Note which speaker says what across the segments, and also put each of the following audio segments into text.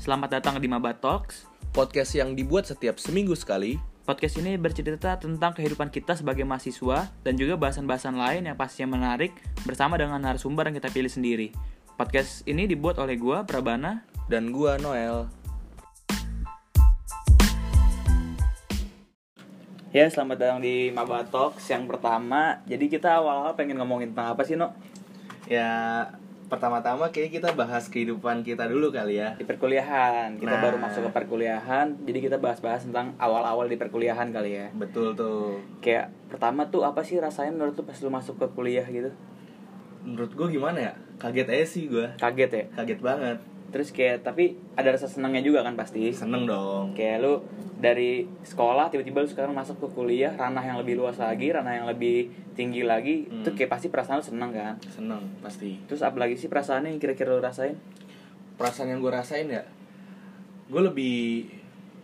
Speaker 1: Selamat datang di Maba Talks.
Speaker 2: Podcast yang dibuat setiap seminggu sekali.
Speaker 1: Podcast ini bercerita tentang kehidupan kita sebagai mahasiswa dan juga bahasan-bahasan lain yang pastinya menarik bersama dengan narasumber yang kita pilih sendiri. Podcast ini dibuat oleh gua Prabana.
Speaker 2: Dan gua Noel.
Speaker 1: Ya, selamat datang di Maba Talks yang pertama. Jadi kita awal-awal pengen ngomongin tentang apa sih, No?
Speaker 2: Ya, pertama-tama kayak kita bahas kehidupan kita dulu kali ya.
Speaker 1: Di perkuliahan. Kita
Speaker 2: Nah.
Speaker 1: baru masuk ke perkuliahan, jadi kita bahas-bahas tentang awal-awal di perkuliahan kali ya.
Speaker 2: Betul tuh.
Speaker 1: Kayak pertama tuh apa sih rasanya menurut lu pas lu masuk ke kuliah gitu?
Speaker 2: Menurut gua gimana ya? Kaget aja sih gua.
Speaker 1: Kaget ya?
Speaker 2: Kaget banget.
Speaker 1: Terus kayak tapi ada rasa senangnya juga kan pasti.
Speaker 2: Seneng dong.
Speaker 1: Kayak lu dari sekolah tiba-tiba lu sekarang masuk ke kuliah ranah yang lebih luas lagi, ranah yang lebih tinggi lagi,
Speaker 2: Hmm.
Speaker 1: itu kayak pasti perasaan lu seneng kan?
Speaker 2: Seneng pasti.
Speaker 1: Terus apa lagi sih perasaannya yang kira-kira lu rasain?
Speaker 2: Perasaan yang gua rasain ya, gua lebih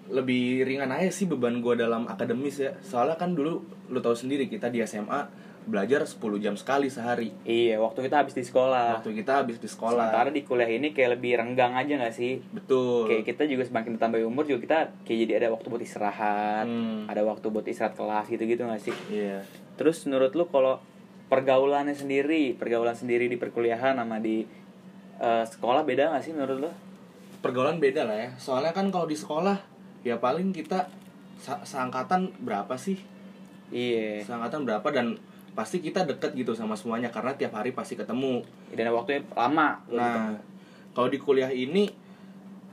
Speaker 2: lebih ringan aja sih beban gua dalam akademis ya. Soalnya kan dulu lu tahu sendiri kita di SMA belajar 10 jam sekali sehari.
Speaker 1: Iya, waktu kita habis di sekolah.
Speaker 2: Waktu kita habis di sekolah.
Speaker 1: Sementara di kuliah ini kayak lebih renggang aja gak sih?
Speaker 2: Betul.
Speaker 1: Kayak kita juga semakin bertambah umur juga kita kayak jadi ada waktu buat istirahat,
Speaker 2: Hmm.
Speaker 1: ada waktu buat istirahat kelas gitu-gitu gak sih?
Speaker 2: Iya.
Speaker 1: Terus menurut lu kalau pergaulannya sendiri, pergaulan sendiri di perkuliahan sama di eh, sekolah beda gak sih menurut lu?
Speaker 2: pergaulan beda lah ya soalnya kan kalau di sekolah ya paling kita sa- seangkatan berapa sih
Speaker 1: Iya.
Speaker 2: seangkatan berapa dan pasti kita deket gitu sama semuanya karena tiap hari pasti ketemu
Speaker 1: Dan waktunya lama. lu ketemu.
Speaker 2: nah kalau di kuliah ini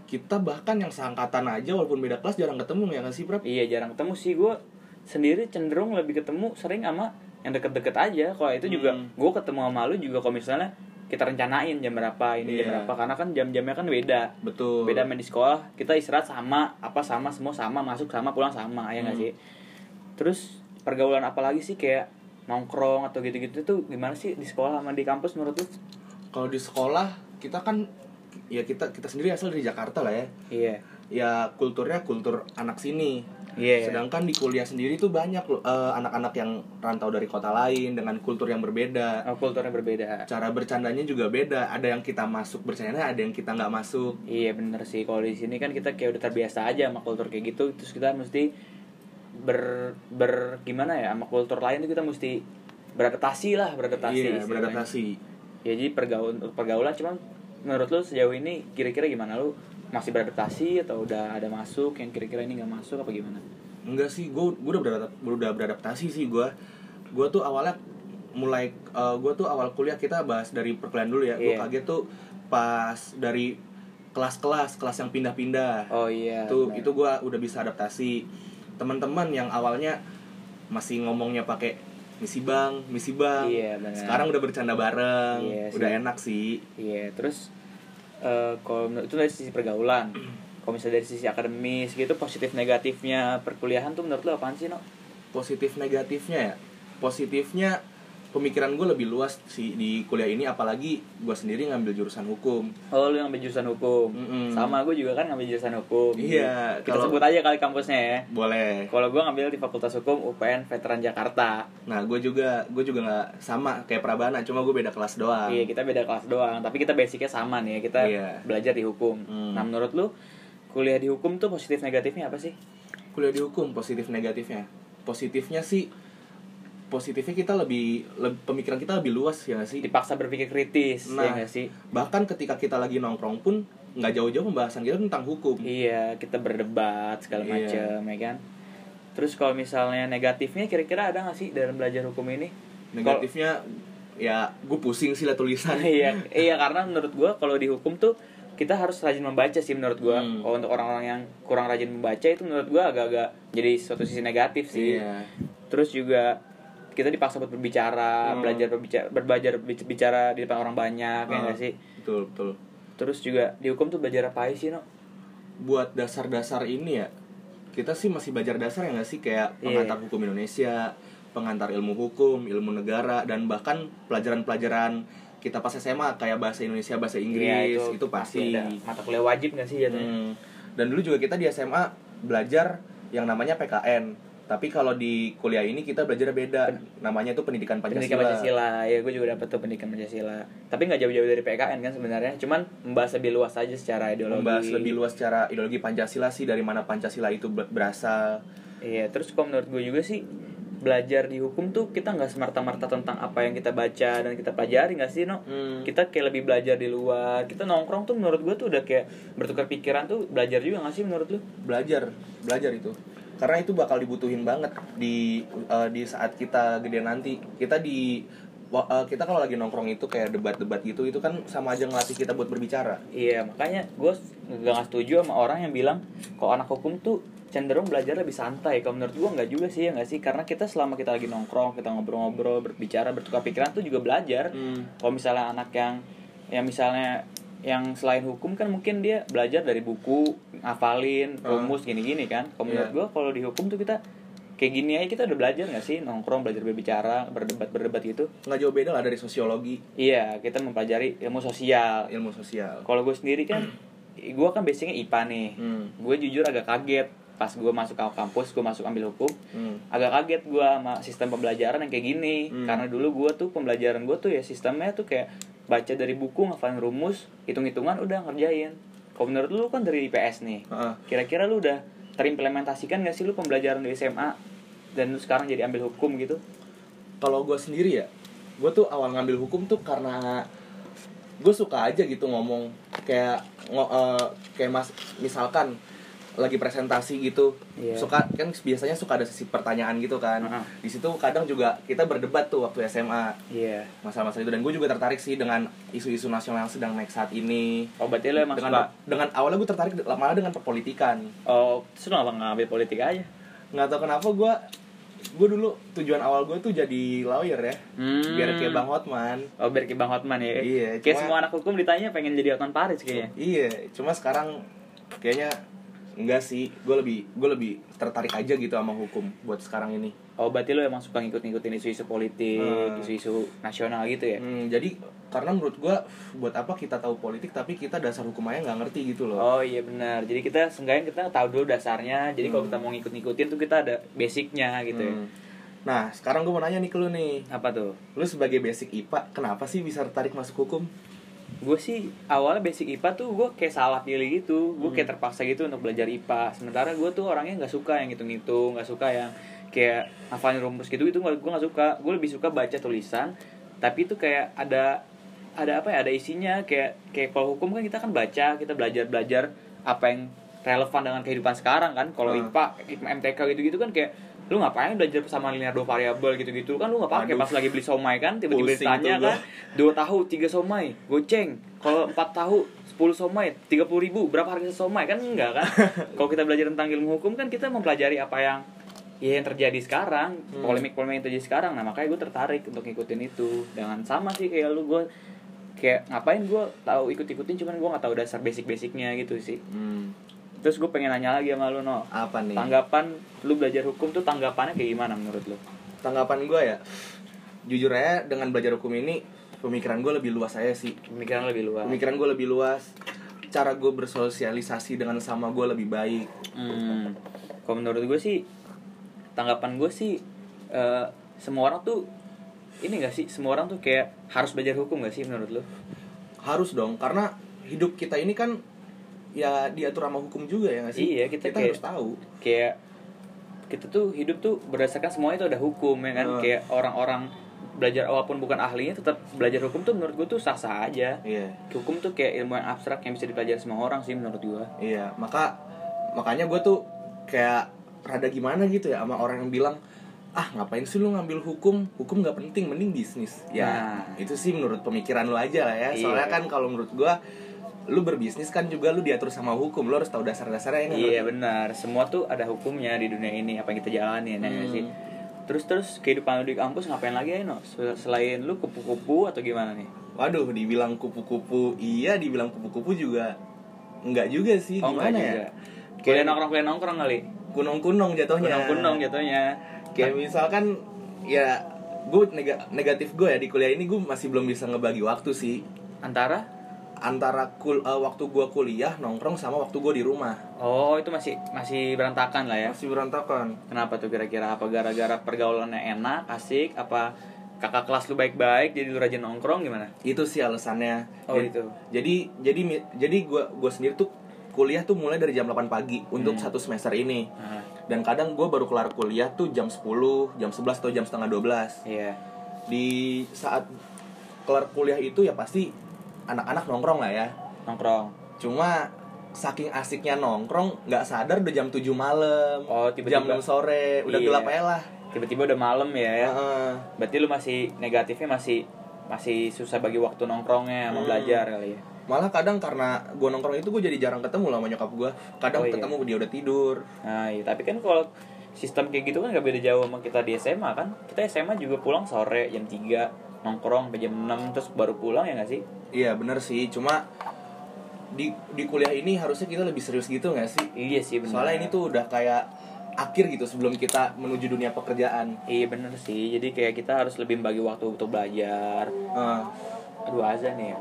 Speaker 2: kita bahkan yang seangkatan aja walaupun beda kelas jarang ketemu ya nggak sih Prap?
Speaker 1: Iya jarang ketemu sih gue sendiri cenderung lebih ketemu sering sama yang deket-deket aja. Kalau itu juga
Speaker 2: Hmm.
Speaker 1: gue ketemu sama lu juga kalau misalnya kita rencanain jam berapa ini jam
Speaker 2: Iya.
Speaker 1: berapa karena kan jam-jamnya kan beda.
Speaker 2: betul
Speaker 1: Beda main di sekolah, kita istirahat sama, apa sama, semua sama, masuk sama, pulang sama, ya nggak
Speaker 2: Hmm.
Speaker 1: sih? Terus pergaulan apa lagi sih kayak nongkrong atau gitu-gitu tuh gimana sih di sekolah sama di kampus menurut lu?
Speaker 2: kalau di sekolah kita kan ya kita kita sendiri asal dari Jakarta lah ya
Speaker 1: Iya.
Speaker 2: ya kulturnya kultur anak sini.
Speaker 1: Iya.
Speaker 2: Sedangkan di kuliah sendiri tuh banyak loh, eh, anak-anak yang rantau dari kota lain dengan kultur yang berbeda.
Speaker 1: Oh, kulturnya berbeda.
Speaker 2: Cara bercandanya juga beda. Ada yang kita masuk bercandanya, ada yang kita nggak masuk.
Speaker 1: Iya bener sih kalau di sini kan kita kayak udah terbiasa aja sama kultur kayak gitu terus kita mesti ber ber gimana ya sama kultur lain tuh kita mesti beradaptasi lah beradaptasi.
Speaker 2: Iya,
Speaker 1: istilahnya.
Speaker 2: beradaptasi.
Speaker 1: Ya jadi pergaulan pergaulan cuman menurut lu sejauh ini kira-kira gimana lu masih beradaptasi atau udah ada masuk yang kira-kira ini nggak masuk apa gimana?
Speaker 2: Enggak sih, gue udah beradap, udah beradaptasi sih gue. Gue tuh awalnya mulai gue tuh awal kuliah kita bahas dari perkuliahan dulu ya. Gue
Speaker 1: Iya.
Speaker 2: kaget tuh pas dari kelas-kelas, kelas yang pindah-pindah.
Speaker 1: Oh iya.
Speaker 2: itu
Speaker 1: bener.
Speaker 2: itu gue udah bisa adaptasi teman-teman yang awalnya masih ngomongnya pakai misi bang misi bang
Speaker 1: Iya, benar.
Speaker 2: sekarang udah bercanda bareng
Speaker 1: Iya sih.
Speaker 2: udah enak sih
Speaker 1: Iya, terus eh kalau menurut- itu dari sisi pergaulan. Kalau misalnya dari sisi akademis gitu positif negatifnya perkuliahan tuh menurut lu apaan sih, No?
Speaker 2: positif negatifnya ya positifnya pemikiran gue lebih luas sih di kuliah ini apalagi gue sendiri ngambil jurusan hukum
Speaker 1: Oh lu yang ambil jurusan hukum
Speaker 2: Mm-mm.
Speaker 1: Sama gue juga kan ngambil jurusan hukum
Speaker 2: Iya,
Speaker 1: Kita
Speaker 2: kalau-
Speaker 1: sebut aja kali kampusnya ya
Speaker 2: boleh
Speaker 1: Kalau gue ngambil di Fakultas Hukum UPN Veteran Jakarta
Speaker 2: nah gue juga gue juga nggak sama kayak Prabana cuma gue beda kelas doang
Speaker 1: Iya kita beda kelas doang Tapi kita basicnya sama nih ya Kita
Speaker 2: Ah. Iya.
Speaker 1: belajar di hukum
Speaker 2: Hmm.
Speaker 1: Nah menurut lu Kuliah di hukum tuh positif negatifnya apa sih?
Speaker 2: kuliah di hukum positif negatifnya positifnya sih positifnya kita lebih, lebih pemikiran kita lebih luas ya nggak sih
Speaker 1: Dipaksa berpikir kritis
Speaker 2: Nah.
Speaker 1: ya nggak sih?
Speaker 2: bahkan ketika kita lagi nongkrong pun nggak jauh-jauh pembahasan kita tentang hukum
Speaker 1: Iya kita berdebat segala
Speaker 2: Iya.
Speaker 1: macem ya kan Terus kalau misalnya negatifnya kira-kira ada nggak sih dalam belajar hukum ini? Kalau-
Speaker 2: negatifnya ya gue pusing sih lah tulisan
Speaker 1: iya iya karena menurut gua kalau di hukum tuh kita harus rajin membaca sih menurut gua
Speaker 2: Hmm.
Speaker 1: kalau untuk orang-orang yang kurang rajin membaca itu menurut gua agak-agak jadi suatu sisi negatif sih
Speaker 2: iya
Speaker 1: terus juga kita dipaksa buat berbicara
Speaker 2: Hmm.
Speaker 1: belajar berbicara berbelajar bicara di depan orang banyak ya nggak sih
Speaker 2: betul betul
Speaker 1: terus juga di hukum tuh belajar apa aja sih no
Speaker 2: buat dasar-dasar ini ya kita sih masih belajar dasar ya nggak sih kayak
Speaker 1: Iya.
Speaker 2: pengantar hukum Indonesia pengantar ilmu hukum ilmu negara dan bahkan pelajaran-pelajaran kita pas SMA kayak bahasa Indonesia bahasa Inggris
Speaker 1: Iya,
Speaker 2: itu, pasti
Speaker 1: ada mata kuliah ya, wajib nggak sih jatuhnya
Speaker 2: Hmm. Dan dulu juga kita di SMA belajar yang namanya PKN. Tapi kalau di kuliah ini kita belajar beda. Namanya itu pendidikan Pancasila.
Speaker 1: Pendidikan Pancasila, ya gue juga dapet tuh pendidikan Pancasila. Tapi nggak jauh-jauh dari PKN kan sebenarnya, cuman membahas lebih luas aja secara ideologi.
Speaker 2: Membahas lebih luas secara ideologi Pancasila sih dari mana Pancasila itu ber- berasal.
Speaker 1: Iya, terus kalau menurut gue juga sih belajar di hukum tuh kita nggak semerta-merta tentang apa yang kita baca dan kita pelajari nggak sih no
Speaker 2: Hmm.
Speaker 1: kita kayak lebih belajar di luar kita nongkrong tuh menurut gue tuh udah kayak bertukar pikiran tuh belajar juga nggak sih menurut lu
Speaker 2: Belajar, belajar itu. Karena itu bakal dibutuhin banget di eh, di saat kita gede nanti. Kita di wa- eh, kita kalau lagi nongkrong itu kayak debat-debat gitu itu kan sama aja ngelatih kita buat berbicara.
Speaker 1: Iya makanya gue gak setuju sama orang yang bilang kok anak hukum tuh cenderung belajar lebih santai. Kalau menurut gue nggak juga sih ya nggak sih karena kita selama kita lagi nongkrong kita ngobrol-ngobrol berbicara bertukar pikiran tuh juga belajar.
Speaker 2: Hmm.
Speaker 1: Kalau misalnya anak yang yang misalnya yang selain hukum kan mungkin dia belajar dari buku, ngafalin, rumus gini-gini kan. Kalau menurut
Speaker 2: Ah. Iya.
Speaker 1: gue kalau di hukum tuh kita kayak gini aja kita udah belajar nggak sih nongkrong belajar berbicara berdebat berdebat gitu.
Speaker 2: Nggak jauh beda lah dari sosiologi,
Speaker 1: Iya kita mempelajari ilmu sosial
Speaker 2: ilmu sosial.
Speaker 1: kalau gue sendiri kan gue kan basicnya IPA nih
Speaker 2: Hmm.
Speaker 1: gue jujur agak kaget pas gue masuk ke kampus gue masuk ambil hukum
Speaker 2: Hmm.
Speaker 1: agak kaget gue sama sistem pembelajaran yang kayak gini
Speaker 2: Hmm.
Speaker 1: karena dulu gue tuh pembelajaran gue tuh ya sistemnya tuh kayak baca dari buku ngafalin rumus hitung-hitungan udah ngerjain kalau menurut lu kan dari IPS nih
Speaker 2: Heeh.
Speaker 1: kira-kira lu udah terimplementasikan gak sih lu pembelajaran dari SMA dan lu sekarang jadi ambil hukum gitu
Speaker 2: kalau gue sendiri ya gue tuh awal ngambil hukum tuh karena gue suka aja gitu ngomong kayak ngo- eh, kayak mas misalkan lagi presentasi gitu
Speaker 1: Iya.
Speaker 2: suka kan biasanya suka ada sesi pertanyaan gitu kan
Speaker 1: Heeh.
Speaker 2: di situ kadang juga kita berdebat tuh waktu SMA
Speaker 1: iya
Speaker 2: masalah-masalah itu dan gue juga tertarik sih dengan isu-isu nasional yang sedang naik saat ini
Speaker 1: oh berarti lu emang suka
Speaker 2: dengan dengan awalnya gue tertarik de- malah dengan perpolitikan
Speaker 1: oh terus lu nggak ngambil politik aja
Speaker 2: nggak tau kenapa gue gue dulu tujuan awal gue tuh jadi lawyer ya
Speaker 1: Hmm.
Speaker 2: biar kayak bang Hotman
Speaker 1: Oh, biar kayak Bang Hotman ya.
Speaker 2: Iya,
Speaker 1: Kayak
Speaker 2: cuma-
Speaker 1: semua anak hukum ditanya pengen jadi Hotman Paris kayaknya.
Speaker 2: Iya, cuma sekarang kayaknya enggak sih. Gue lebih gue lebih tertarik aja gitu sama hukum buat sekarang ini.
Speaker 1: Oh, berarti lo emang suka ngikut-ngikutin isu-isu politik,
Speaker 2: Hmm.
Speaker 1: isu-isu nasional gitu ya?
Speaker 2: Hmm, jadi karena menurut gue buat apa kita tahu politik tapi kita dasar hukum aja nggak ngerti gitu loh.
Speaker 1: Oh iya benar. Jadi kita seenggaknya kita tahu dulu dasarnya. Jadi kalau kita mau ngikut-ngikutin tuh kita ada basicnya gitu ya.
Speaker 2: Hmm. Nah, sekarang gue mau nanya nih ke lu nih.
Speaker 1: Apa tuh?
Speaker 2: Lu sebagai basic IPA, kenapa sih bisa tertarik masuk hukum?
Speaker 1: Gue sih awalnya basic IPA tuh gue kayak salah pilih gitu. Gue
Speaker 2: Hmm.
Speaker 1: kayak terpaksa gitu untuk belajar IPA. Sementara gue tuh orangnya nggak suka yang hitung-hitung, nggak suka yang kayak hafalin rumus gitu itu gue nggak suka. Gue lebih suka baca tulisan. Tapi itu kayak ada ada apa ya ada isinya kayak kayak kalau hukum kan kita kan baca kita belajar belajar apa yang relevan dengan kehidupan sekarang kan kalau
Speaker 2: Hmm.
Speaker 1: IPA MTK gitu-gitu kan kayak lu ngapain belajar persamaan linear dua variabel gitu-gitu kan lu nggak pakai
Speaker 2: Aduh.
Speaker 1: pas lagi beli somai kan tiba-tiba
Speaker 2: Pusing
Speaker 1: ditanya
Speaker 2: tuh gua.
Speaker 1: kan dua tahu tiga somai goceng kalau empat tahu sepuluh somai tiga puluh ribu berapa harga somai kan enggak kan kalau kita belajar tentang ilmu hukum kan kita mempelajari apa yang ya yang terjadi sekarang polemik polemik yang terjadi sekarang nah makanya gue tertarik untuk ngikutin itu dengan sama sih kayak lu gue kayak ngapain gue tahu ikut ikutin cuman gue nggak tahu dasar basic basicnya gitu sih
Speaker 2: Hmm,
Speaker 1: terus gue pengen nanya lagi sama lu no
Speaker 2: apa nih?
Speaker 1: tanggapan lu belajar hukum tuh tanggapannya kayak gimana menurut lu
Speaker 2: Tanggapan gue ya, jujur aja dengan belajar hukum ini pemikiran gue lebih luas aja sih.
Speaker 1: pemikiran lebih luas
Speaker 2: Pemikiran gue lebih luas, cara gue bersosialisasi dengan sama gue lebih baik.
Speaker 1: Hmm, kalau menurut gue sih tanggapan gue sih eh, semua orang tuh ini gak sih semua orang tuh kayak harus belajar hukum gak sih menurut lo?
Speaker 2: harus dong karena hidup kita ini kan ya diatur sama hukum juga ya nggak sih
Speaker 1: Iya, kita kayak-
Speaker 2: harus tahu
Speaker 1: Kayak kita tuh hidup tuh berdasarkan semuanya itu ada hukum ya kan?
Speaker 2: Hmm.
Speaker 1: Kayak orang-orang belajar walaupun bukan ahlinya tetap belajar hukum tuh menurut gue tuh sah-sah aja.
Speaker 2: iya
Speaker 1: Hukum tuh kayak ilmu yang abstrak yang bisa dipelajari semua orang sih menurut gue.
Speaker 2: iya maka makanya gue tuh kayak rada gimana gitu ya sama orang yang bilang ah ngapain sih lu ngambil hukum hukum nggak penting mending bisnis
Speaker 1: Nah.
Speaker 2: ya itu sih menurut pemikiran lu aja lah ya
Speaker 1: Iya.
Speaker 2: soalnya kan kalau menurut gue lu berbisnis kan juga lu diatur sama hukum lu harus tahu dasar-dasarnya ya kan? yang
Speaker 1: Iya benar, semua tuh ada hukumnya di dunia ini apa yang kita jalani ya nggak sih. Terus terus kehidupan lu di kampus ngapain lagi Eno? Se- Selain lu kupu-kupu atau gimana nih?
Speaker 2: waduh dibilang kupu-kupu iya dibilang kupu-kupu juga nggak juga sih
Speaker 1: nggak
Speaker 2: gimana
Speaker 1: Oh, juga.
Speaker 2: ya
Speaker 1: Kuliah nongkrong kuliah nongkrong kali.
Speaker 2: kunong-kunong jatuhnya
Speaker 1: Kunong-kunong jatuhnya.
Speaker 2: kayak misalkan ya gue negatif gue ya di kuliah ini gue masih belum bisa ngebagi waktu sih
Speaker 1: Antara
Speaker 2: antara kul eh, waktu gua kuliah nongkrong sama waktu gua di rumah
Speaker 1: Oh, itu masih masih berantakan lah ya.
Speaker 2: masih berantakan
Speaker 1: Kenapa tuh kira-kira? Apa gara-gara pergaulannya enak, asik, apa kakak kelas lu baik-baik jadi lu rajin nongkrong gimana?
Speaker 2: itu sih alasannya
Speaker 1: Oh,
Speaker 2: Jadi-
Speaker 1: itu.
Speaker 2: jadi jadi mi- jadi gua gua sendiri tuh kuliah tuh mulai dari jam 8 pagi
Speaker 1: Hmm.
Speaker 2: untuk satu semester ini
Speaker 1: Nah,
Speaker 2: dan kadang gua baru kelar kuliah tuh jam 10 jam 11 atau jam setengah 12
Speaker 1: iya.
Speaker 2: di saat kelar kuliah itu ya pasti anak-anak nongkrong lah ya
Speaker 1: Nongkrong.
Speaker 2: cuma saking asiknya nongkrong nggak sadar udah jam 7 malam
Speaker 1: Oh,
Speaker 2: jam
Speaker 1: tiba-tiba
Speaker 2: 6 sore udah
Speaker 1: Iya.
Speaker 2: gelap aja lah
Speaker 1: tiba-tiba udah malam ya.
Speaker 2: Heeh.
Speaker 1: Berarti lu masih negatifnya masih masih susah bagi waktu nongkrongnya sama
Speaker 2: Hmm.
Speaker 1: belajar kali ya.
Speaker 2: malah kadang karena gue nongkrong itu gue jadi jarang ketemu lah sama nyokap gue kadang
Speaker 1: Oh, iya.
Speaker 2: ketemu dia udah tidur
Speaker 1: Nah, iya. tapi kan kalau sistem kayak gitu kan gak beda jauh sama kita di SMA kan. Kita SMA juga pulang sore jam 3, nongkrong sampai jam 6 terus baru pulang ya gak sih?
Speaker 2: iya bener sih cuma di di kuliah ini harusnya kita lebih serius gitu nggak sih
Speaker 1: Iya sih benar.
Speaker 2: soalnya ini tuh udah kayak akhir gitu sebelum kita menuju dunia pekerjaan
Speaker 1: Iya bener sih, jadi kayak kita harus lebih bagi waktu untuk belajar
Speaker 2: Eh,
Speaker 1: Aduh azan nih ya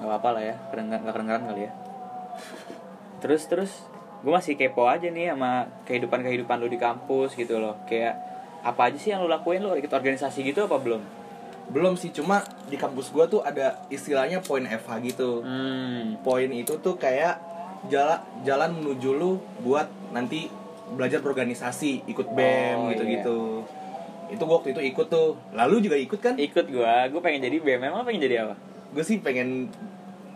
Speaker 1: Gak apa-apa lah ya, kedengeran, gak kedengeran kali ya Terus, terus Gue masih kepo aja nih sama kehidupan-kehidupan lu di kampus gitu loh Kayak apa aja sih yang lu lakuin, lu ikut organisasi gitu apa belum?
Speaker 2: belum sih cuma di kampus gue tuh ada istilahnya poin FH gitu
Speaker 1: Hmm,
Speaker 2: poin itu tuh kayak jala, jalan menuju lu buat nanti belajar berorganisasi, ikut BEM
Speaker 1: Oh, iya.
Speaker 2: gitu-gitu. Itu gua waktu itu ikut tuh. Lalu juga ikut kan?
Speaker 1: ikut gue, gue pengen jadi BEM, emang lu pengen jadi apa?
Speaker 2: Gue sih pengen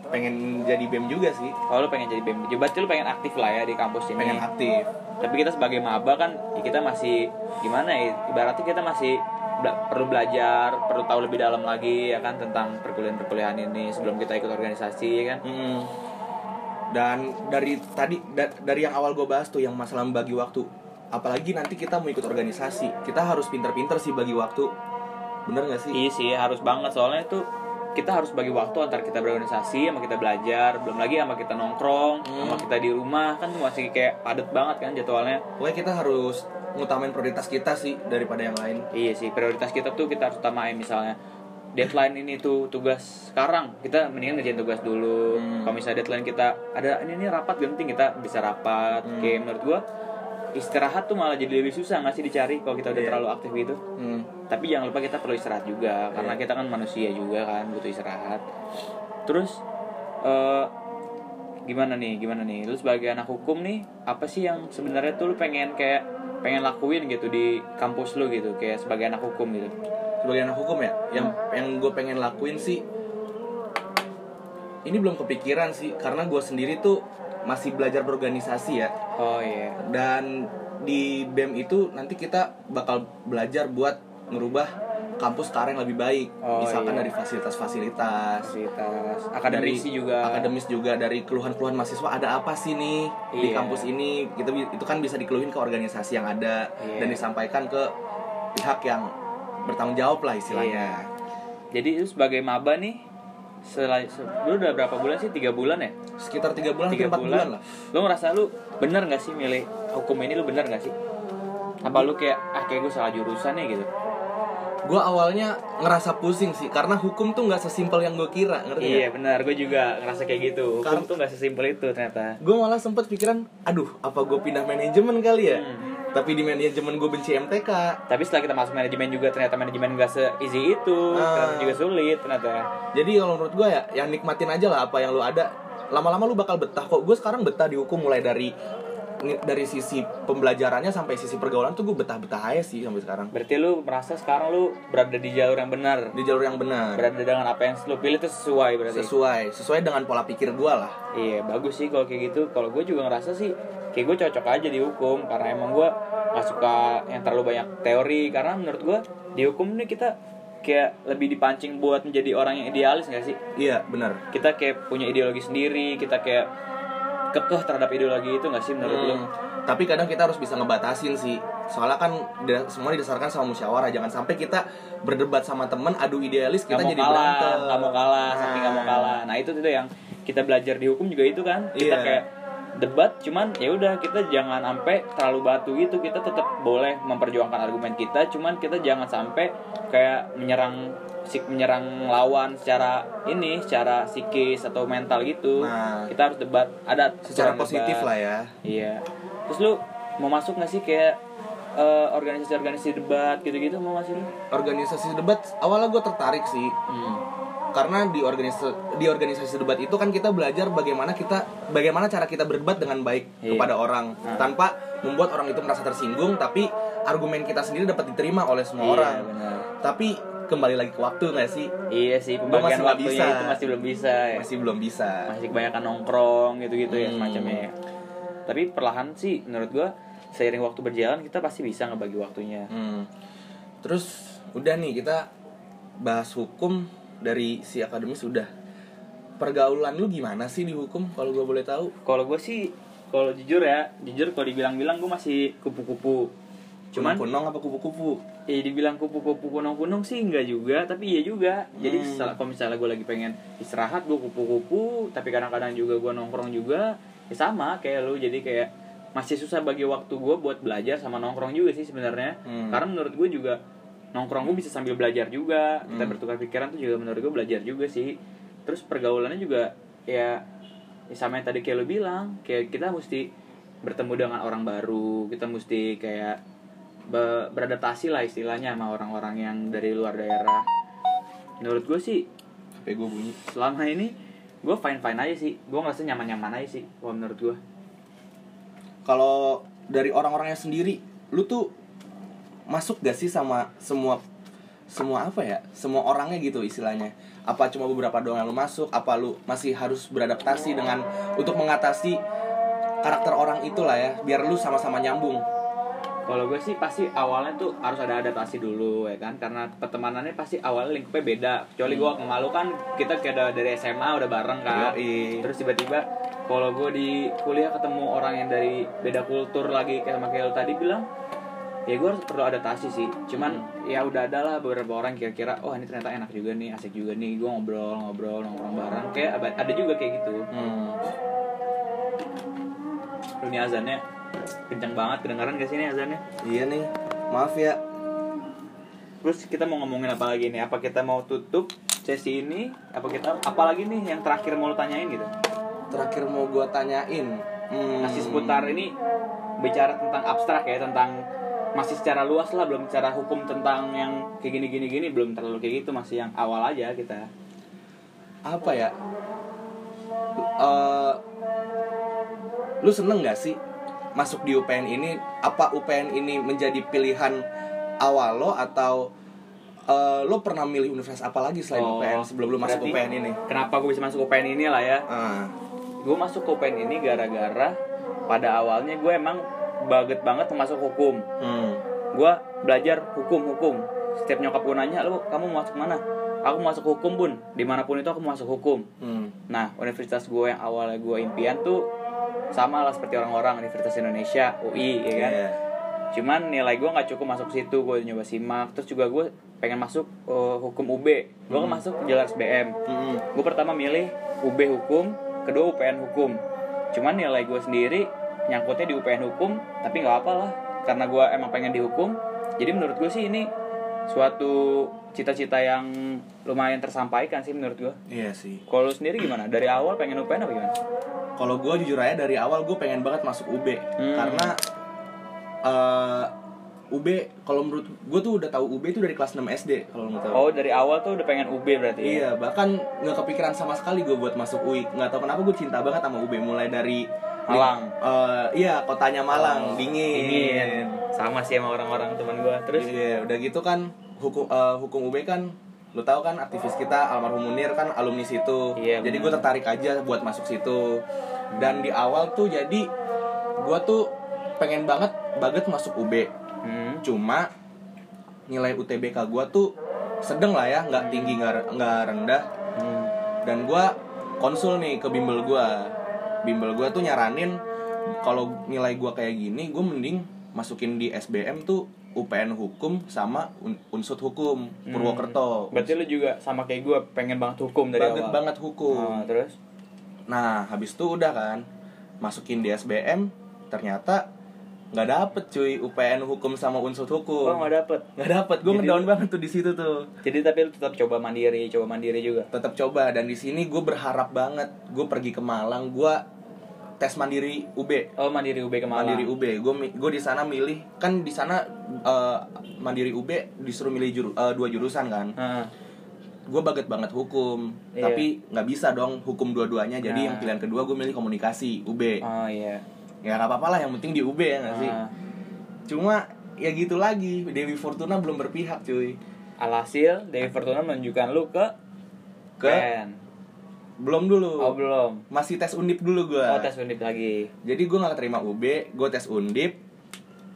Speaker 2: pengen jadi BEM juga sih.
Speaker 1: Oh lu pengen jadi BEM, Jadi berarti lu pengen aktif lah ya di kampus ini
Speaker 2: Pengen aktif.
Speaker 1: tapi kita sebagai maba kan ya kita masih gimana ya ibaratnya kita masih bela- perlu belajar perlu tahu lebih dalam lagi ya kan tentang perkuliahan-perkuliahan ini sebelum kita ikut organisasi ya kan
Speaker 2: Mm-mm. Dan dari tadi da- dari yang awal gue bahas tuh yang masalah bagi waktu. Apalagi nanti kita mau ikut organisasi, kita harus pinter-pinter sih bagi waktu. Bener gak sih?
Speaker 1: iya sih harus banget soalnya itu kita harus bagi waktu antar kita berorganisasi sama kita belajar belum lagi sama kita nongkrong sama kita di rumah kan masih kayak padat banget kan jadwalnya
Speaker 2: Pokoknya kita harus ngutamain prioritas kita sih daripada yang lain.
Speaker 1: Iya sih, prioritas kita tuh kita harus utamain misalnya deadline ini tuh tugas sekarang kita mendingan ngerjain tugas dulu.
Speaker 2: Hmm.
Speaker 1: Kalau misalnya deadline kita ada ini ini rapat genting kita bisa rapat.
Speaker 2: Hmm.
Speaker 1: Kayak menurut gua istirahat tuh malah jadi lebih susah nggak sih dicari kalau kita udah
Speaker 2: Iya.
Speaker 1: terlalu aktif gitu.
Speaker 2: Hmm.
Speaker 1: Tapi jangan lupa kita perlu istirahat juga karena kita kan manusia juga kan butuh istirahat. Terus eh, gimana nih? Gimana nih? Lu sebagai anak hukum nih apa sih yang sebenarnya tuh lu pengen kayak pengen lakuin gitu di kampus lu gitu kayak sebagai anak hukum gitu.
Speaker 2: sebagai anak hukum ya yang yang gue pengen lakuin sih ini belum kepikiran sih karena gue sendiri tuh masih belajar berorganisasi ya
Speaker 1: Oh iya.
Speaker 2: dan di BEM itu nanti kita bakal belajar buat merubah kampus ke arah yang lebih baik
Speaker 1: Oh,
Speaker 2: misalkan
Speaker 1: iya.
Speaker 2: dari fasilitas-fasilitas
Speaker 1: Fasilitas akademisi
Speaker 2: dari
Speaker 1: juga.
Speaker 2: akademis juga dari keluhan-keluhan mahasiswa ada apa sih nih di
Speaker 1: Iya.
Speaker 2: kampus ini itu itu kan bisa dikeluhin ke organisasi yang ada
Speaker 1: Iya.
Speaker 2: dan disampaikan ke pihak yang bertanggung jawab lah
Speaker 1: Iya.
Speaker 2: istilahnya
Speaker 1: Jadi lu sebagai maba nih selai, se- lu udah berapa bulan sih? Tiga bulan ya?
Speaker 2: sekitar tiga bulan
Speaker 1: tiga
Speaker 2: hampir empat bulan. lah
Speaker 1: lu ngerasa lu bener nggak sih milih hukum ini lu bener nggak sih apa lu kayak ah kayak gue salah jurusan ya gitu
Speaker 2: gue awalnya ngerasa pusing sih karena hukum tuh nggak sesimpel yang gue kira ngerti
Speaker 1: iya bener gue juga ngerasa kayak gitu hukum
Speaker 2: Karena-
Speaker 1: tuh nggak sesimpel itu ternyata
Speaker 2: gue malah sempet pikiran aduh apa gue pindah manajemen kali ya
Speaker 1: Hmm.
Speaker 2: tapi di manajemen gue benci MTK
Speaker 1: tapi setelah kita masuk manajemen juga ternyata manajemen gak se-easy itu
Speaker 2: Ah.
Speaker 1: ternyata juga sulit ternyata
Speaker 2: jadi kalau menurut gue ya yang nikmatin aja lah apa yang lu ada lama-lama lu bakal betah kok gue sekarang betah di hukum mulai dari dari sisi pembelajarannya sampai sisi pergaulan tuh gue betah-betah aja sih sampai sekarang
Speaker 1: berarti lu merasa sekarang lu berada di jalur yang benar
Speaker 2: di jalur yang benar
Speaker 1: berada dengan apa yang lu pilih itu sesuai berarti
Speaker 2: sesuai sesuai dengan pola pikir gue lah
Speaker 1: Iya bagus sih kalau kayak gitu. Kalau gue juga ngerasa sih kayak gue cocok aja di hukum karena emang gue nggak suka yang terlalu banyak teori karena menurut gue di hukum nih kita kayak lebih dipancing buat menjadi orang yang idealis gak sih?
Speaker 2: iya benar
Speaker 1: Kita kayak punya ideologi sendiri, kita kayak kekeh terhadap ideologi itu gak sih menurut lo?
Speaker 2: Hmm, Tapi kadang kita harus bisa ngebatasin sih. Soalnya kan da- semua didasarkan sama musyawarah. Jangan sampai kita berdebat sama temen adu idealis
Speaker 1: Gak
Speaker 2: kita
Speaker 1: mau
Speaker 2: jadi
Speaker 1: kalah,
Speaker 2: berantem.
Speaker 1: gak mau kalah,
Speaker 2: Nah,
Speaker 1: saking gak mau kalah. Nah itu tuh yang kita belajar di hukum juga itu kan. Kita
Speaker 2: Iya.
Speaker 1: kayak debat cuman ya udah kita jangan sampai terlalu batu gitu kita tetap boleh memperjuangkan argumen kita cuman kita jangan sampai kayak menyerang sik menyerang lawan secara ini secara psikis atau mental gitu
Speaker 2: Nah.
Speaker 1: kita harus debat ada
Speaker 2: secara
Speaker 1: aturan
Speaker 2: positif
Speaker 1: debat.
Speaker 2: lah ya
Speaker 1: Iya. Terus lu mau masuk nggak sih kayak eh, organisasi-organisasi debat gitu-gitu mau masuk lu?
Speaker 2: organisasi debat awalnya gue tertarik sih Hmm. karena di organisasi di organisasi debat itu kan kita belajar bagaimana kita bagaimana cara kita berdebat dengan baik
Speaker 1: Iya.
Speaker 2: kepada orang tanpa membuat orang itu merasa tersinggung tapi argumen kita sendiri dapat diterima oleh
Speaker 1: Iya,
Speaker 2: semua orang
Speaker 1: benar.
Speaker 2: tapi kembali lagi ke waktu nggak sih
Speaker 1: Iya sih,
Speaker 2: Gua
Speaker 1: pembagian
Speaker 2: masih nggak
Speaker 1: waktunya
Speaker 2: bisa.
Speaker 1: itu masih belum bisa ya. Masih,
Speaker 2: masih belum bisa
Speaker 1: kebanyakan nongkrong gitu-gitu ya
Speaker 2: Hmm.
Speaker 1: semacamnya. ya. Tapi perlahan sih menurut gua seiring waktu berjalan kita pasti bisa ngebagi waktunya.
Speaker 2: Hmm. terus udah nih kita bahas hukum dari si akademis udah pergaulan lu gimana sih di hukum kalau gue boleh tahu
Speaker 1: Kalau gua sih kalau jujur ya, jujur kalau dibilang-bilang gua masih kupu-kupu. Cuman
Speaker 2: kunong apa kupu-kupu
Speaker 1: ya dibilang kupu-kupu kunung-kunung sih enggak juga tapi iya juga jadi
Speaker 2: Hmm.
Speaker 1: sel- kalau misalnya gue lagi pengen istirahat gue kupu-kupu tapi kadang-kadang juga gue nongkrong juga ya sama kayak lu jadi kayak masih susah bagi waktu gue buat belajar sama nongkrong juga sih sebenarnya
Speaker 2: Hmm.
Speaker 1: karena Kan menurut gue juga nongkrong gue bisa sambil belajar juga kita
Speaker 2: Hmm.
Speaker 1: bertukar pikiran tuh juga menurut gue belajar juga sih terus pergaulannya juga ya, ya sama yang tadi kayak lu bilang kayak kita mesti bertemu dengan orang baru kita mesti kayak be- beradaptasi lah istilahnya sama orang-orang yang dari luar daerah. Menurut gue sih
Speaker 2: HP gue bunyi
Speaker 1: selama ini gue fine fine aja sih, gue ngerasa nyaman nyaman aja sih. Kalau menurut gue,
Speaker 2: kalau dari orang-orangnya sendiri lu tuh masuk gak sih sama semua semua apa ya semua orangnya gitu istilahnya apa cuma beberapa doang yang lu masuk apa lu masih harus beradaptasi dengan untuk mengatasi karakter orang itulah ya biar lu sama-sama nyambung
Speaker 1: kalau gue sih pasti awalnya tuh harus ada adaptasi dulu ya kan, karena pertemanannya pasti awalnya lingkupnya beda. Kecuali gue sama lu kan kita kayak ada- dari SMA udah bareng kan,
Speaker 2: Yoi.
Speaker 1: terus tiba-tiba kalau gue di kuliah ketemu orang yang dari beda kultur lagi kayak sama kayak lu tadi bilang ya gue harus perlu adaptasi sih cuman ya udah ada lah beberapa orang kira-kira oh ini ternyata enak juga nih asik juga nih gue ngobrol ngobrol nongkrong bareng kayak ab- ada juga kayak gitu
Speaker 2: Hmm.
Speaker 1: Lu ini azannya kencang banget kedengaran gak sih ini azannya
Speaker 2: iya nih maaf ya
Speaker 1: terus kita mau ngomongin apa lagi nih apa kita mau tutup sesi ini apa kita apa lagi nih yang terakhir mau lu tanyain gitu
Speaker 2: terakhir mau gua tanyain hmm.
Speaker 1: masih seputar ini bicara tentang abstrak ya tentang masih secara luas lah belum secara hukum tentang yang kayak gini gini gini belum terlalu kayak gitu masih yang awal aja kita
Speaker 2: apa ya Eh, lu seneng gak sih masuk di UPN ini apa UPN ini menjadi pilihan awal lo atau eh, lo pernah milih universitas apa lagi selain
Speaker 1: Oh,
Speaker 2: UPN sebelum lu masuk
Speaker 1: berarti-
Speaker 2: UPN ini
Speaker 1: kenapa gue bisa masuk UPN ini lah ya
Speaker 2: Ah,
Speaker 1: gue masuk ke UPN ini gara-gara pada awalnya gue emang baget banget masuk hukum
Speaker 2: hmm.
Speaker 1: gue belajar hukum hukum setiap nyokap gue nanya lu kamu mau masuk mana aku masuk hukum bun dimanapun itu aku mau masuk hukum
Speaker 2: hmm.
Speaker 1: Nah, universitas gue yang awalnya gue impian tuh sama lah seperti orang-orang Universitas Indonesia, UI, ya kan.
Speaker 2: Iya.
Speaker 1: Cuman nilai gue nggak cukup masuk situ, gue nyoba simak. Terus juga gue pengen masuk eh, hukum UB. Gue kan masuk jelas BM.
Speaker 2: Hmm.
Speaker 1: Gue pertama milih UB hukum, kedua UPN hukum. Cuman nilai gue sendiri nyangkutnya di UPN hukum, tapi nggak apa lah. Karena gue emang pengen dihukum. Jadi menurut gue sih ini suatu cita-cita yang lumayan tersampaikan sih menurut gue.
Speaker 2: Iya sih.
Speaker 1: Kalau lu sendiri gimana? Dari awal pengen UPN apa gimana?
Speaker 2: Kalau gue jujur aja dari awal gue pengen banget masuk UB
Speaker 1: Hmm.
Speaker 2: karena eh, UB kalau menurut gue tuh udah tahu UB itu dari kelas 6 SD kalau lo mau tahu.
Speaker 1: Oh, dari awal tuh udah pengen UB berarti. ya?
Speaker 2: Iya, bahkan nggak kepikiran sama sekali gue buat masuk UI. Nggak tahu kenapa gue cinta banget sama UB mulai dari
Speaker 1: Malang. Oh.
Speaker 2: Eh, iya, kotanya Malang, dingin.
Speaker 1: Dingin. Sama sih sama orang-orang teman gua. Terus
Speaker 2: Iya, udah gitu kan hukum eh, hukum UB kan lu tahu kan aktivis kita almarhum Munir kan alumni situ.
Speaker 1: Iya,
Speaker 2: jadi gue
Speaker 1: benar.
Speaker 2: tertarik aja buat masuk situ. Dan di awal tuh jadi gue tuh pengen banget banget masuk UB.
Speaker 1: hmm,
Speaker 2: Cuma nilai UTBK gue tuh sedang lah ya, nggak tinggi nggak nggak rendah.
Speaker 1: hmm,
Speaker 2: dan gua konsul nih ke bimbel gua bimbel gua tuh nyaranin kalau nilai gua kayak gini gua mending masukin di SBM tuh UPN hukum sama Un- unsud hukum
Speaker 1: Hmm.
Speaker 2: Purwokerto
Speaker 1: berarti lu juga sama kayak gua pengen banget hukum dari Hmm. Ah,
Speaker 2: banget
Speaker 1: awal.
Speaker 2: banget hukum
Speaker 1: Oh, terus
Speaker 2: nah habis itu udah kan masukin di SBM ternyata nggak dapet cuy UPN hukum sama unsur
Speaker 1: Oh,
Speaker 2: hukum
Speaker 1: nggak dapet.
Speaker 2: nggak dapet gue
Speaker 1: Jadi-
Speaker 2: ngedown banget tuh di situ tuh
Speaker 1: Jadi tapi lu tetap coba mandiri, coba mandiri juga.
Speaker 2: tetap coba dan di sini gue berharap banget gue pergi ke Malang gue tes mandiri UB
Speaker 1: Oh, mandiri UB ke Malang.
Speaker 2: Mandiri UB, gue gue di sana milih kan di sana eh, Mandiri UB disuruh milih juru, eh, dua jurusan kan.
Speaker 1: Heeh.
Speaker 2: Gue baget banget hukum,
Speaker 1: Iya.
Speaker 2: tapi nggak bisa dong hukum dua-duanya. Jadi
Speaker 1: Nah.
Speaker 2: yang pilihan kedua gue milih komunikasi UB.
Speaker 1: Oh iya.
Speaker 2: Ya nggak apa-apa lah, yang penting di UB ya nggak sih.
Speaker 1: Ah.
Speaker 2: Cuma ya gitu lagi, Dewi Fortuna belum berpihak cuy.
Speaker 1: Alhasil Dewi Fortuna menunjukkan lu ke
Speaker 2: Ke
Speaker 1: PN.
Speaker 2: belum dulu,
Speaker 1: Oh belum.
Speaker 2: masih tes undip dulu gue.
Speaker 1: Oh tes undip lagi.
Speaker 2: Jadi gue nggak terima UB, gue tes undip,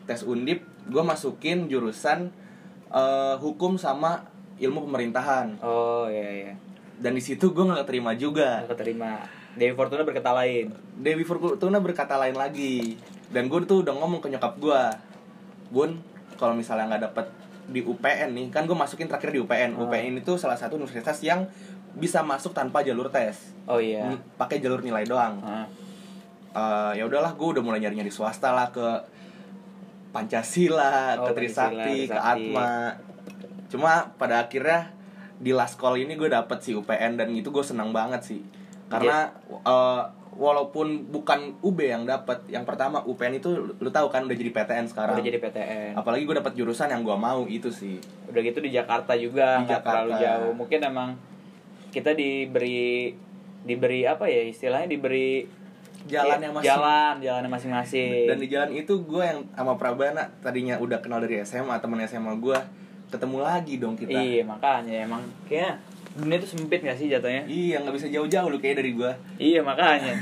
Speaker 2: tes undip, gue masukin jurusan eh, hukum sama ilmu pemerintahan.
Speaker 1: Oh iya iya.
Speaker 2: Dan di situ gue nggak terima juga.
Speaker 1: Aku terima. Dewi Fortuna berkata lain.
Speaker 2: Dewi Fortuna berkata lain lagi. Dan gue tuh udah ngomong ke nyokap gue, Bun, kalau misalnya nggak dapet di UPN nih, kan gue masukin terakhir di UPN.
Speaker 1: Oh.
Speaker 2: UPN itu salah satu universitas yang bisa masuk tanpa jalur tes,
Speaker 1: Oh iya.
Speaker 2: N- pakai jalur nilai doang.
Speaker 1: Ah.
Speaker 2: Eh, ya udahlah gue udah mulai nyari nyari swasta lah ke Pancasila,
Speaker 1: Oh,
Speaker 2: ke Trisakti,
Speaker 1: Pancasila,
Speaker 2: ke
Speaker 1: Trisakti.
Speaker 2: Atma. Cuma pada akhirnya di last call ini gue dapet si UPN dan itu gue senang banget sih. Karena
Speaker 1: Iya.
Speaker 2: eh, walaupun bukan UB yang dapet, yang pertama UPN itu lu- lu tahu kan udah jadi PTN sekarang.
Speaker 1: Udah jadi PTN.
Speaker 2: Apalagi gue dapet jurusan yang gue mau itu sih.
Speaker 1: Udah gitu di Jakarta juga
Speaker 2: Di
Speaker 1: nggak
Speaker 2: Jakarta.
Speaker 1: terlalu jauh. Mungkin emang kita diberi diberi apa ya istilahnya diberi
Speaker 2: Jalan
Speaker 1: eh,
Speaker 2: yang masing-
Speaker 1: jalan jalannya masing-masing.
Speaker 2: Dan di jalan itu gue yang sama Prabana tadinya udah kenal dari SMA, temen SMA gue ketemu lagi dong kita.
Speaker 1: Iya makanya emang kayaknya dunia itu sempit gak sih jatuhnya?
Speaker 2: Iya nggak bisa jauh-jauh lu kayak dari gue.
Speaker 1: Iya makanya.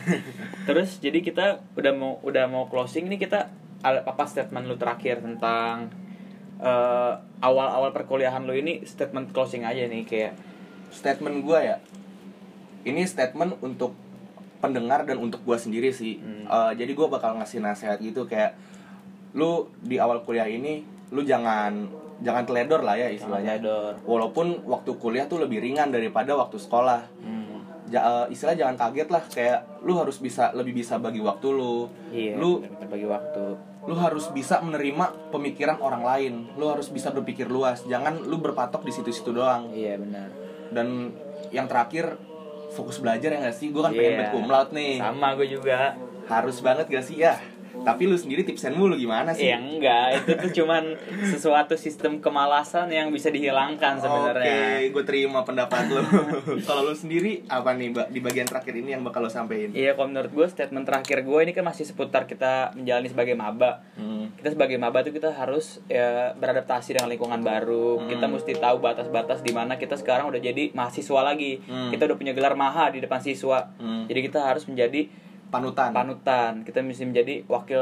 Speaker 1: Terus jadi kita udah mau udah mau closing nih kita al- apa statement lu terakhir tentang eh, awal-awal perkuliahan lu ini statement closing aja nih kayak
Speaker 2: statement gue ya ini statement untuk pendengar dan untuk gue sendiri sih Eh, jadi gue bakal ngasih nasihat gitu kayak lu di awal kuliah ini lu jangan jangan teledor lah ya istilahnya
Speaker 1: teledor.
Speaker 2: walaupun waktu kuliah tuh lebih ringan daripada waktu sekolah
Speaker 1: Hmm,
Speaker 2: Ja- eh, istilah jangan kaget lah kayak lu harus bisa lebih bisa bagi waktu lu
Speaker 1: iya
Speaker 2: lu
Speaker 1: bener-bener bagi waktu.
Speaker 2: lu harus bisa menerima pemikiran orang lain lu harus bisa berpikir luas jangan lu berpatok di situ-situ doang
Speaker 1: Iya benar.
Speaker 2: dan yang terakhir fokus belajar ya nggak sih gue kan pengen
Speaker 1: Iya.
Speaker 2: bet kumlaut nih
Speaker 1: Sama gue juga.
Speaker 2: harus banget gak sih ya tapi lu sendiri tipsen mulu gimana sih
Speaker 1: Ya enggak, itu tuh cuman sesuatu sistem kemalasan yang bisa dihilangkan sebenarnya.
Speaker 2: Oke, gue terima pendapat lu. Kalau lu sendiri apa nih Mbak, di bagian terakhir ini yang bakal lu sampein?
Speaker 1: Iya, kalau menurut gue statement terakhir gue ini kan masih seputar kita menjalani sebagai maba.
Speaker 2: Hmm.
Speaker 1: Kita sebagai maba tuh kita harus ya, beradaptasi dengan lingkungan baru. Kita mesti tahu batas-batas di mana kita sekarang udah jadi mahasiswa lagi. Kita udah punya gelar maha di depan siswa.
Speaker 2: Hmm.
Speaker 1: Jadi kita harus menjadi
Speaker 2: Panutan.
Speaker 1: panutan. Kita mesti menjadi wakil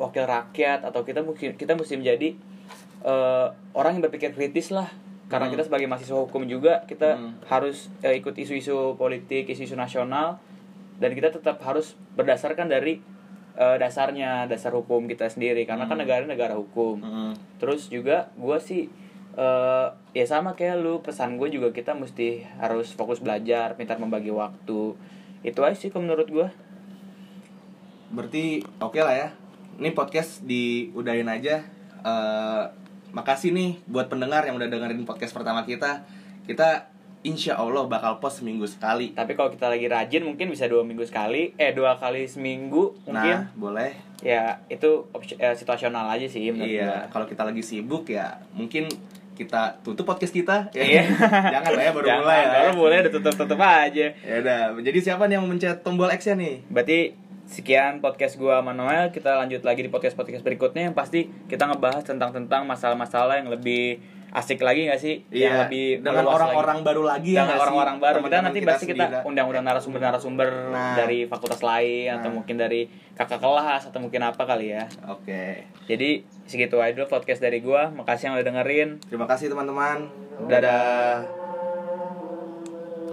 Speaker 1: wakil rakyat atau kita mungkin kita mesti menjadi eh, orang yang berpikir kritis lah. Karena kita sebagai mahasiswa hukum juga kita harus eh, ikut isu-isu politik, isu-isu nasional dan kita tetap harus berdasarkan dari eh, dasarnya, dasar hukum kita sendiri karena kan negara negara hukum.
Speaker 2: Hmm.
Speaker 1: Terus juga gue sih eh, ya sama kayak lu pesan gue juga kita mesti harus fokus belajar, pintar membagi waktu. Itu aja sih kalau menurut gue.
Speaker 2: Berarti oke lah ya. Ini podcast diudahin aja. Eh, makasih nih buat pendengar yang udah dengerin podcast pertama kita. Kita insya Allah bakal post seminggu sekali.
Speaker 1: Tapi kalau kita lagi rajin mungkin bisa dua minggu sekali, eh dua kali seminggu
Speaker 2: Nah,
Speaker 1: mungkin.
Speaker 2: boleh
Speaker 1: Ya itu opsi- eh, situasional aja sih menurut
Speaker 2: Iya,
Speaker 1: gua.
Speaker 2: kalau kita lagi sibuk ya mungkin kita tutup podcast kita. Ya.
Speaker 1: Iya.
Speaker 2: Jangan lah ya baru
Speaker 1: Jangan,
Speaker 2: mulai. Ya.
Speaker 1: baru mulai udah tutup-tutup aja.
Speaker 2: Ya udah, jadi siapa nih yang mencet tombol X-nya nih?
Speaker 1: Berarti sekian podcast gua Manuel. Kita lanjut lagi di podcast-podcast berikutnya yang pasti kita ngebahas tentang tentang masalah-masalah yang lebih asik lagi nggak sih? yang Iya, lebih
Speaker 2: Iya, dengan
Speaker 1: meluas lagi.
Speaker 2: orang-orang baru lagi
Speaker 1: dengan
Speaker 2: ya nggak sih?
Speaker 1: orang-orang baru kita
Speaker 2: Teman-teman
Speaker 1: nanti pasti kita
Speaker 2: sendiri.
Speaker 1: undang-undang narasumber-narasumber
Speaker 2: Nah.
Speaker 1: dari fakultas lain atau
Speaker 2: Nah.
Speaker 1: mungkin dari kakak kelas atau mungkin apa kali ya.
Speaker 2: Oke.
Speaker 1: Jadi segitu aja dulu podcast dari gua. Makasih yang udah dengerin.
Speaker 2: Terima kasih teman-teman.
Speaker 1: Dadah.